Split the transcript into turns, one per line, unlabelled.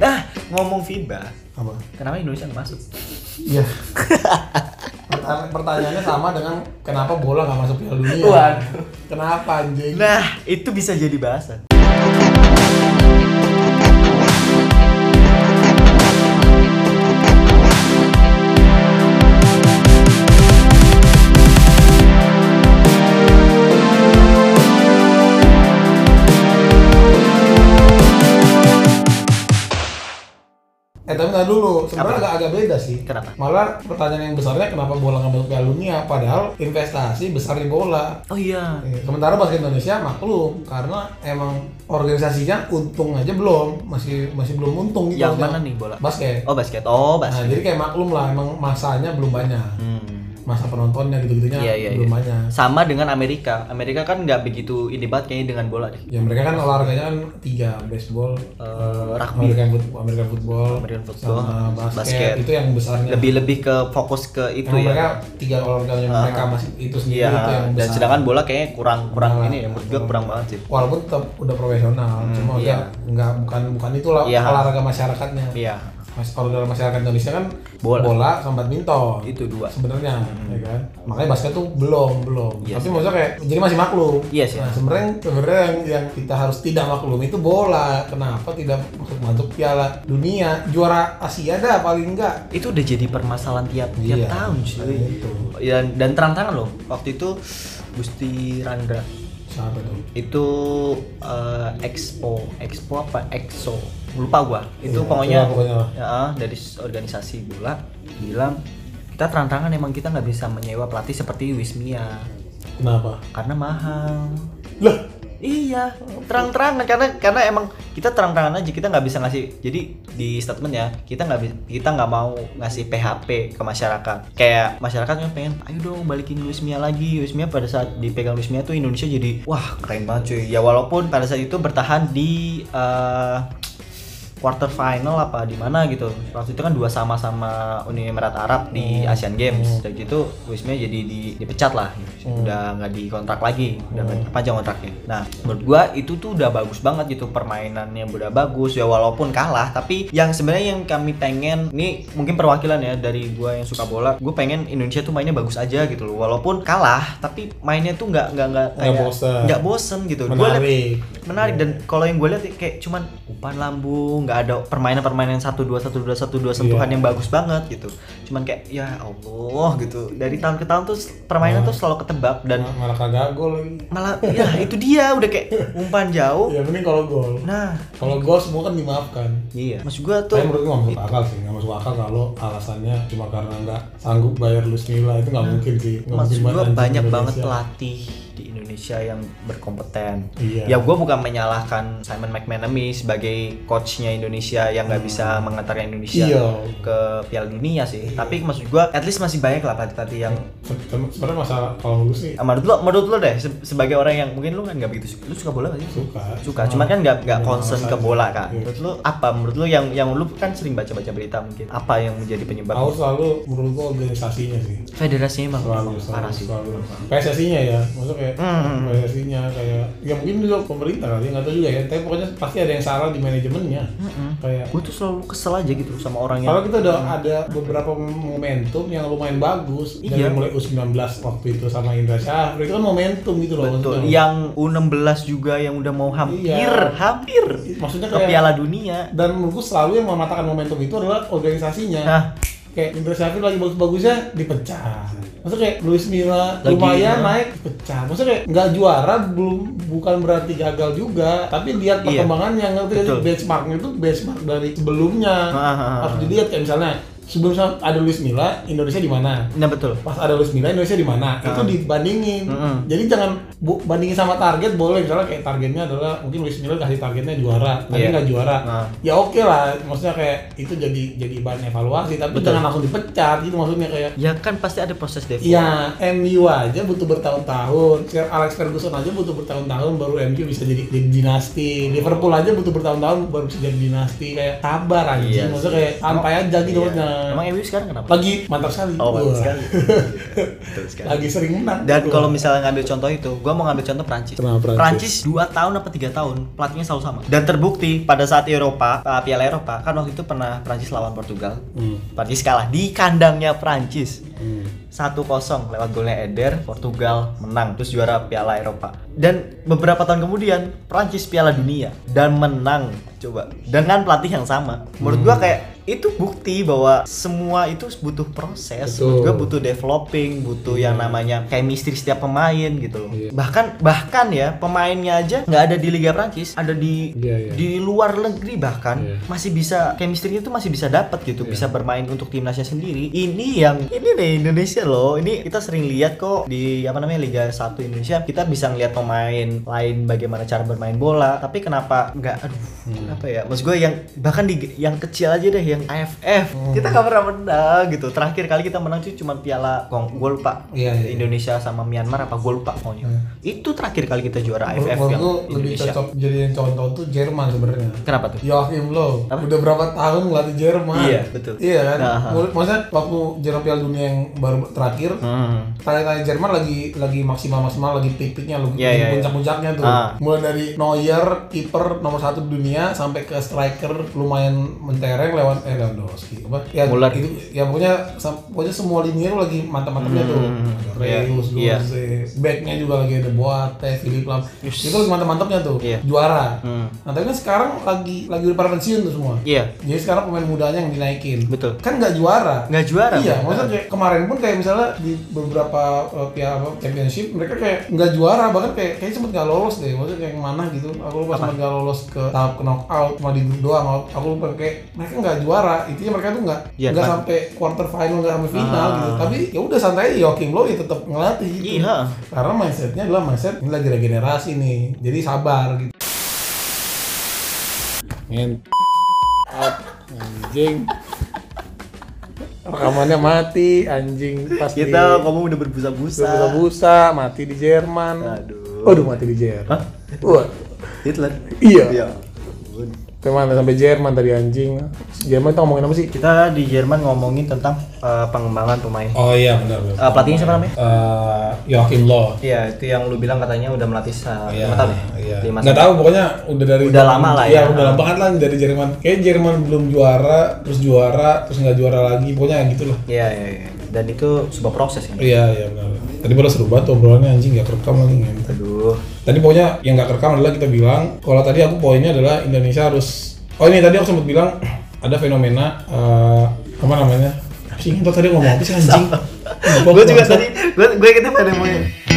Nah. ngomong FIBA,
apa
kenapa Indonesia nggak masuk? Iya.
ya pertanyaannya sama dengan kenapa bola nggak masuk Piala Dunia
Waduh.
kenapa anjing
Nah, itu bisa jadi bahasan.
Eh tapi ntar dulu, sebenarnya
Apa?
agak, agak beda sih.
Kenapa?
Malah pertanyaan yang besarnya kenapa bola nggak masuk Piala Dunia? Padahal investasi besar di bola.
Oh iya.
Eh, Sementara basket Indonesia maklum karena emang organisasinya untung aja belum, masih masih belum untung gitu.
Yang
maksudnya.
mana nih bola?
Basket.
Oh basket. Oh
Nah,
basket.
jadi kayak maklum lah emang masanya belum banyak.
Hmm.
Masa penontonnya
Iya
gitu-gitunya
iya. iya.
Nah, belum banyak.
Sama dengan Amerika. Amerika kan nggak begitu ini banget kayaknya dengan bola deh.
Ya mereka kan olahraganya kan tiga, baseball,
Eh, rugby.
American football, American football,
American football,
sama basket,
basket.
itu yang besarnya.
Lebih lebih ke fokus ke itu
Emang
ya.
mereka tiga olahraganya
Ah.
mereka masih itu sendiri
Iya.
itu yang
Dan
besar.
sedangkan bola kayaknya kurang kurang
Nah,
ini ya. Menurut gua kurang banget sih.
walaupun tetap udah profesional, cuma
iya.
udah nggak bukan bukan itulah
Iya.
olahraga masyarakatnya.
Iya.
Mas olahraga masyarakat Indonesia kan
Bola.
sama badminton.
Itu dua.
Sebenarnya,
Hmm.
ya kan. Makanya basket tuh belum belum.
Yes,
Tapi maksudnya kayak jadi masih maklum.
Yes,
nah,
yes.
sebenarnya sebenarnya yang, yang kita harus tidak maklum itu bola. Kenapa tidak masuk masuk Piala Dunia, juara Asia dah paling enggak.
Itu udah jadi permasalahan tiap tiap
Iya,
tahun cuy.
itu.
Dan dan terang-terangan loh. Waktu itu Gusti Randra
Siapa tuh?
itu eh, expo expo apa exo lupa gua itu
Iya,
pokoknya,
itulah pokoknya.
Ya, dari organisasi bola bilang kita terang-terangan emang kita nggak bisa menyewa pelatih seperti Wismia
Kenapa?
karena mahal
Lah,
iya terang-terangan karena karena emang kita terang-terangan aja kita nggak bisa ngasih jadi di statement ya kita nggak bi- kita nggak mau ngasih PHP ke masyarakat kayak masyarakat yang pengen ayo dong balikin Luismia lagi Luismia pada saat dipegang Luismia tuh Indonesia jadi wah keren banget cuy ya walaupun pada saat itu bertahan di eh, quarter final apa di mana gitu waktu itu kan dua sama sama Uni Emirat Arab di
Hmm.
Asian Games dan gitu Luismia jadi di- dipecat lah gitu.
Hmm.
udah nggak dikontrak lagi udah nggak panjang kontraknya nah menurut gua itu tuh udah bagus banget gitu permainannya udah bagus ya walaupun kalah tapi yang sebenarnya yang kami pengen ini mungkin perwakilan ya dari gua yang suka bola gue pengen Indonesia tuh mainnya bagus aja gitu loh walaupun kalah tapi mainnya tuh nggak nggak nggak
Nggak
kayak-
bosen.
nggak bosen gitu Gua liat-
menarik.
menarik dan kalau yang gue lihat kayak cuman umpan lambung nggak ada permainan-permainan satu dua satu dua satu dua sentuhan
Iya.
yang bagus banget gitu cuman kayak ya allah gitu dari tahun ke tahun tuh permainan tuh selalu ketebak dan
Mal- malah kagak gol lagi.
malah ya itu dia udah kayak umpan jauh
Ya mending kalau gol.
nah
Kalau gol semua kan dimaafkan.
iya maksud gue tuh
Tapi menurut gue nggak masuk akal sih, nggak masuk akal kalau alasannya cuma karena nggak sanggup bayar Luis Milla itu nggak mungkin sih. Nggak
maksud
mungkin
gue
anjing
Hmm. banyak
Indonesia.
banget pelatih di Indonesia yang berkompeten.
Iya.
Ya gue bukan menyalahkan Simon McManamy sebagai coachnya Indonesia yang nggak bisa mengantarkan Indonesia
Hmm. Iya.
ke Piala Dunia sih. Tapi maksud gue, at least masih banyak lah pelatih-pelatih yang
Se- se- Sebenarnya masalah kalau gue sih
Ah, menurut lo, menurut lo deh se- sebagai orang yang mungkin lu kan nggak begitu suka, lu suka bola nggak sih?
suka.
Suka, cuman kan nggak nggak
Cuma
concern
alasan.
ke bola kan.
Iya.
Menurut lo apa? Menurut lo yang yang lu kan sering baca-baca berita mungkin apa yang menjadi
Aku
penyebab?
selalu menurut gue organisasinya sih.
Federasinya emang
Selalu,
parah
selalu,
sih.
selalu. PSSI-nya ya, maksudnya kayak
Hmm.
PSSI-nya kayak ya mungkin juga pemerintah kali, nggak tahu juga ya. Tapi pokoknya pasti ada yang salah di manajemennya.
Hmm,
Kayak
Gue tuh selalu kesel aja gitu sama orang yang
Kalau kita udah ada beberapa momentum yang lumayan bagus dari
Iya.
mulai U19 waktu itu sama Indra Syafri itu kan momentum gitu loh
Betul. iya.
maksudnya.
Yang U16 juga yang udah mau hampir,
Iya.
hampir
Maksudnya
ke
kayak
Piala Dunia.
dan menurutku selalu yang mematahkan momentum itu adalah organisasinya.
Nah.
Kayak Indra Syafri lagi bagus-bagusnya dipecah. Maksudnya kayak Luis Milla
Lagi, ya.
lumayan naik pecah. Maksudnya kayak nggak juara belum bukan berarti gagal juga, tapi lihat
Iya.
perkembangannya ngerti nggak sih?
Betul.
benchmarknya itu benchmark dari sebelumnya.
Ah, ah, ah.
Harus dilihat kayak misalnya sebelum ada Luis Milla, Indonesia di mana?
Nah betul.
pas ada Luis Milla Indonesia di mana itu dibandingin
Mm-mm.
jadi jangan bu- bandingin sama target boleh misalnya kayak targetnya adalah mungkin Luis Milla kasih targetnya juara tapi
Iya.
nggak juara
Nah.
ya oke lah maksudnya kayak itu jadi jadi bahan evaluasi tapi
Betul.
jangan langsung dipecat gitu maksudnya kayak
Ya kan pasti ada proses develop.
Ya, MU aja butuh bertahun-tahun. Sir Alex Ferguson aja butuh bertahun-tahun baru MU bisa jadi, jadi
Oh.
dinasti. Liverpool aja butuh bertahun-tahun baru bisa jadi dinasti. Kayak sabar aja.
Iya
Maksudnya kayak sampai aja gitu
Iya.
maksudnya.
Emang MU sekarang kenapa?
lagi mantap sekali.
Oh,
Wah.
bagus sekali. Betul sekali.
lagi sering menang.
Dan
Wah.
kalau misalnya ngambil contoh itu, gua mau ngambil contoh Prancis.
Kenapa Prancis?
Prancis 2 tahun apa 3 tahun, pelatihnya selalu sama. Dan terbukti pada saat Eropa, uh, Piala Eropa, kan waktu itu pernah Prancis lawan Portugal.
Hmm.
Prancis kalah di kandangnya Prancis.
Hmm.
1-0 lewat golnya Eder, Portugal menang terus juara Piala Eropa. Dan beberapa tahun kemudian Prancis Piala Dunia dan menang coba dengan pelatih yang sama. Menurut
Hmm.
gua kayak itu bukti bahwa semua itu butuh proses.
Betul.
Menurut gua butuh developing, butuh yang namanya chemistry setiap pemain gitu loh.
Iya.
Bahkan bahkan ya pemainnya aja nggak ada di Liga Prancis, ada di
Iya, iya.
di luar negeri bahkan
Iya.
masih bisa chemistry-nya itu masih bisa dapat gitu,
Iya.
bisa bermain untuk timnasnya sendiri. Ini yang ini nih Indonesia loh. Ini kita sering lihat kok di apa namanya Liga 1 Indonesia kita bisa ngelihat pemain lain bagaimana cara bermain bola, tapi kenapa nggak aduh
Hmm.
apa ya? Maksud gue yang bahkan di yang kecil aja deh yang AFF.
Hmm.
Kita nggak pernah menang gitu. Terakhir kali kita menang tuh cuma Piala Kong gue lupa.
Iya, iya.
Indonesia sama Myanmar apa gue lupa pokoknya. Itu terakhir kali kita juara AFF
Menurut
yang
gua lebih
Indonesia.
cocok jadiin contoh tuh Jerman sebenarnya.
Kenapa tuh?
Joachim Low
Apa?
udah berapa tahun ngelatih Jerman?
Iya, betul.
Iya kan?
Nah, ha.
Menurut- Maksudnya waktu Jerman Piala Dunia yang baru terakhir,
Hmm.
tanya-tanya Jerman lagi lagi maksimal maksimal lagi peak-peaknya lagi
Iya, iya, iya.
puncak-puncaknya tuh.
Ah.
Mulai dari Neuer kiper nomor satu dunia sampai ke striker lumayan mentereng lewat eh, Lewandowski apa? Ya,
Muller.
Itu, ya pokoknya sam- pokoknya semua lini itu lagi mantap-mantapnya tuh. Ada
Iya,
Reus,
iya.
Gose, backnya juga lagi ada Boateng, Philip Lam. Itu lagi mantap-mantapnya tuh.
Iya.
Juara.
Hmm.
Nah, tapi kan sekarang lagi lagi udah pada pensiun tuh semua.
Iya,
Jadi sekarang pemain mudanya yang dinaikin.
Betul.
Kan nggak juara.
nggak juara.
Iya,
Bang.
maksudnya kayak kemarin pun kayak misalnya di beberapa uh, piala apa, championship mereka kayak nggak juara bahkan kayak kayak sempet nggak lolos deh. Maksudnya kayak yang mana gitu. Aku lupa sempet nggak lolos ke tahap ke knockout cuma di grup doang. Aku lupa kayak mereka nggak juara. Intinya mereka tuh nggak
Iya,
nggak
kan?
sampai quarter final nggak sampai final
Ah.
gitu. Tapi ya udah santai aja Joakim Low ya tetap ngelatih gitu.
Iya.
Karena mindsetnya adalah mindset ini lagi regenerasi nih. Jadi sabar gitu.
Ngen- anjing rekamannya mati anjing pasti
Kita kamu Iya. udah berbusa-busa.
busa mati di Jerman
Aduh.
Waduh mati di Jerman
Hah?
Wah,
Hitler.
Iya.
Iya.
kemana sampai Jerman tadi anjing Jerman itu ngomongin apa sih
Kita di Jerman ngomongin tentang eh, pengembangan pemain.
Oh iya benar.
Eh, pelatihnya siapa namanya?
Uh, Joakim Low
Iya, itu yang lu bilang katanya udah melatih sa- lima tahun ya? Lima
Iya. Nggak
tahun.
tahu pokoknya udah dari
Udah lama lah ya.
Iya, udah lama banget lah dari Jerman. Kayak Jerman belum juara, terus juara, terus nggak juara lagi. Pokoknya ya gitu lah.
Iya, iya, iya. Dan itu sebuah proses kan.
Iya, iya benar. Tadi baru seru banget obrolannya anjing nggak kerekam lagi ngentot.
Aduh.
Tadi pokoknya yang nggak kerekam adalah kita bilang kalau tadi aku poinnya adalah Indonesia harus Oh ini tadi aku sempat bilang ada fenomena eh apa namanya? Apa sih ngentot tadi ngomong apa sih anjing?
gue juga tadi, gue gue kita pada mau